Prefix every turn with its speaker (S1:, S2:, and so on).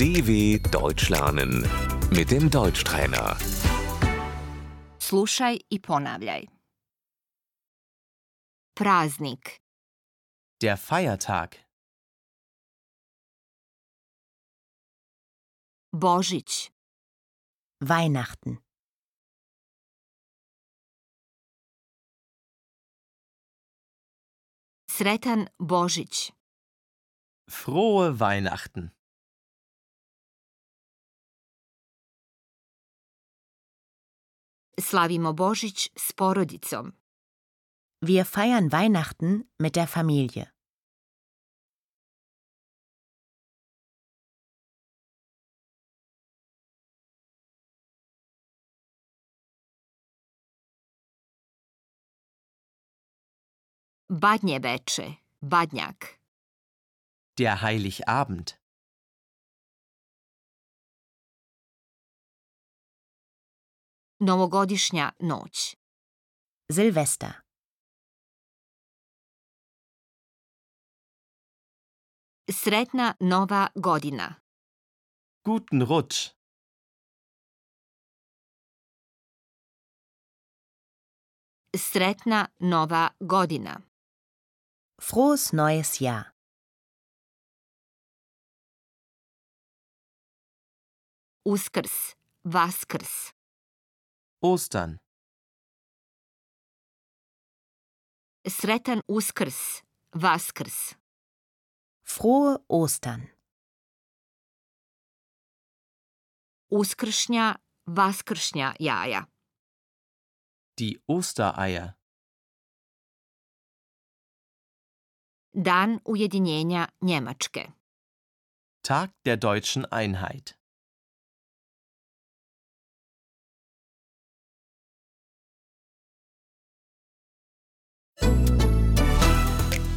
S1: DW Deutsch lernen mit dem Deutschtrainer.
S2: Slušaj i ponavljaj. Praznik,
S3: Der Feiertag.
S2: Božić,
S4: Weihnachten,
S2: Sretan Božić,
S3: Frohe Weihnachten.
S2: slavimo Božić s porodicom,
S4: wir feiern Weihnachten mit der Familie.
S2: Badnje veče, Badnjak,
S3: Der Heiligabend.
S2: Novogodišnja noć,
S4: Silvester,
S2: Sretna nova godina,
S3: Guten Rutsch.
S2: Sretna nova godina,
S4: frohes neues Jahr.
S2: Uskrs, Vaskrs,
S3: Ostern.
S2: Sretan Uskrs, Vaskrs,
S4: Frohe Ostern,
S2: Uskršnja, Vaskršnja jaja,
S3: Die Ostereier.
S2: Dan ujedinjenja Njemačke.
S3: Tag der deutschen Einheit.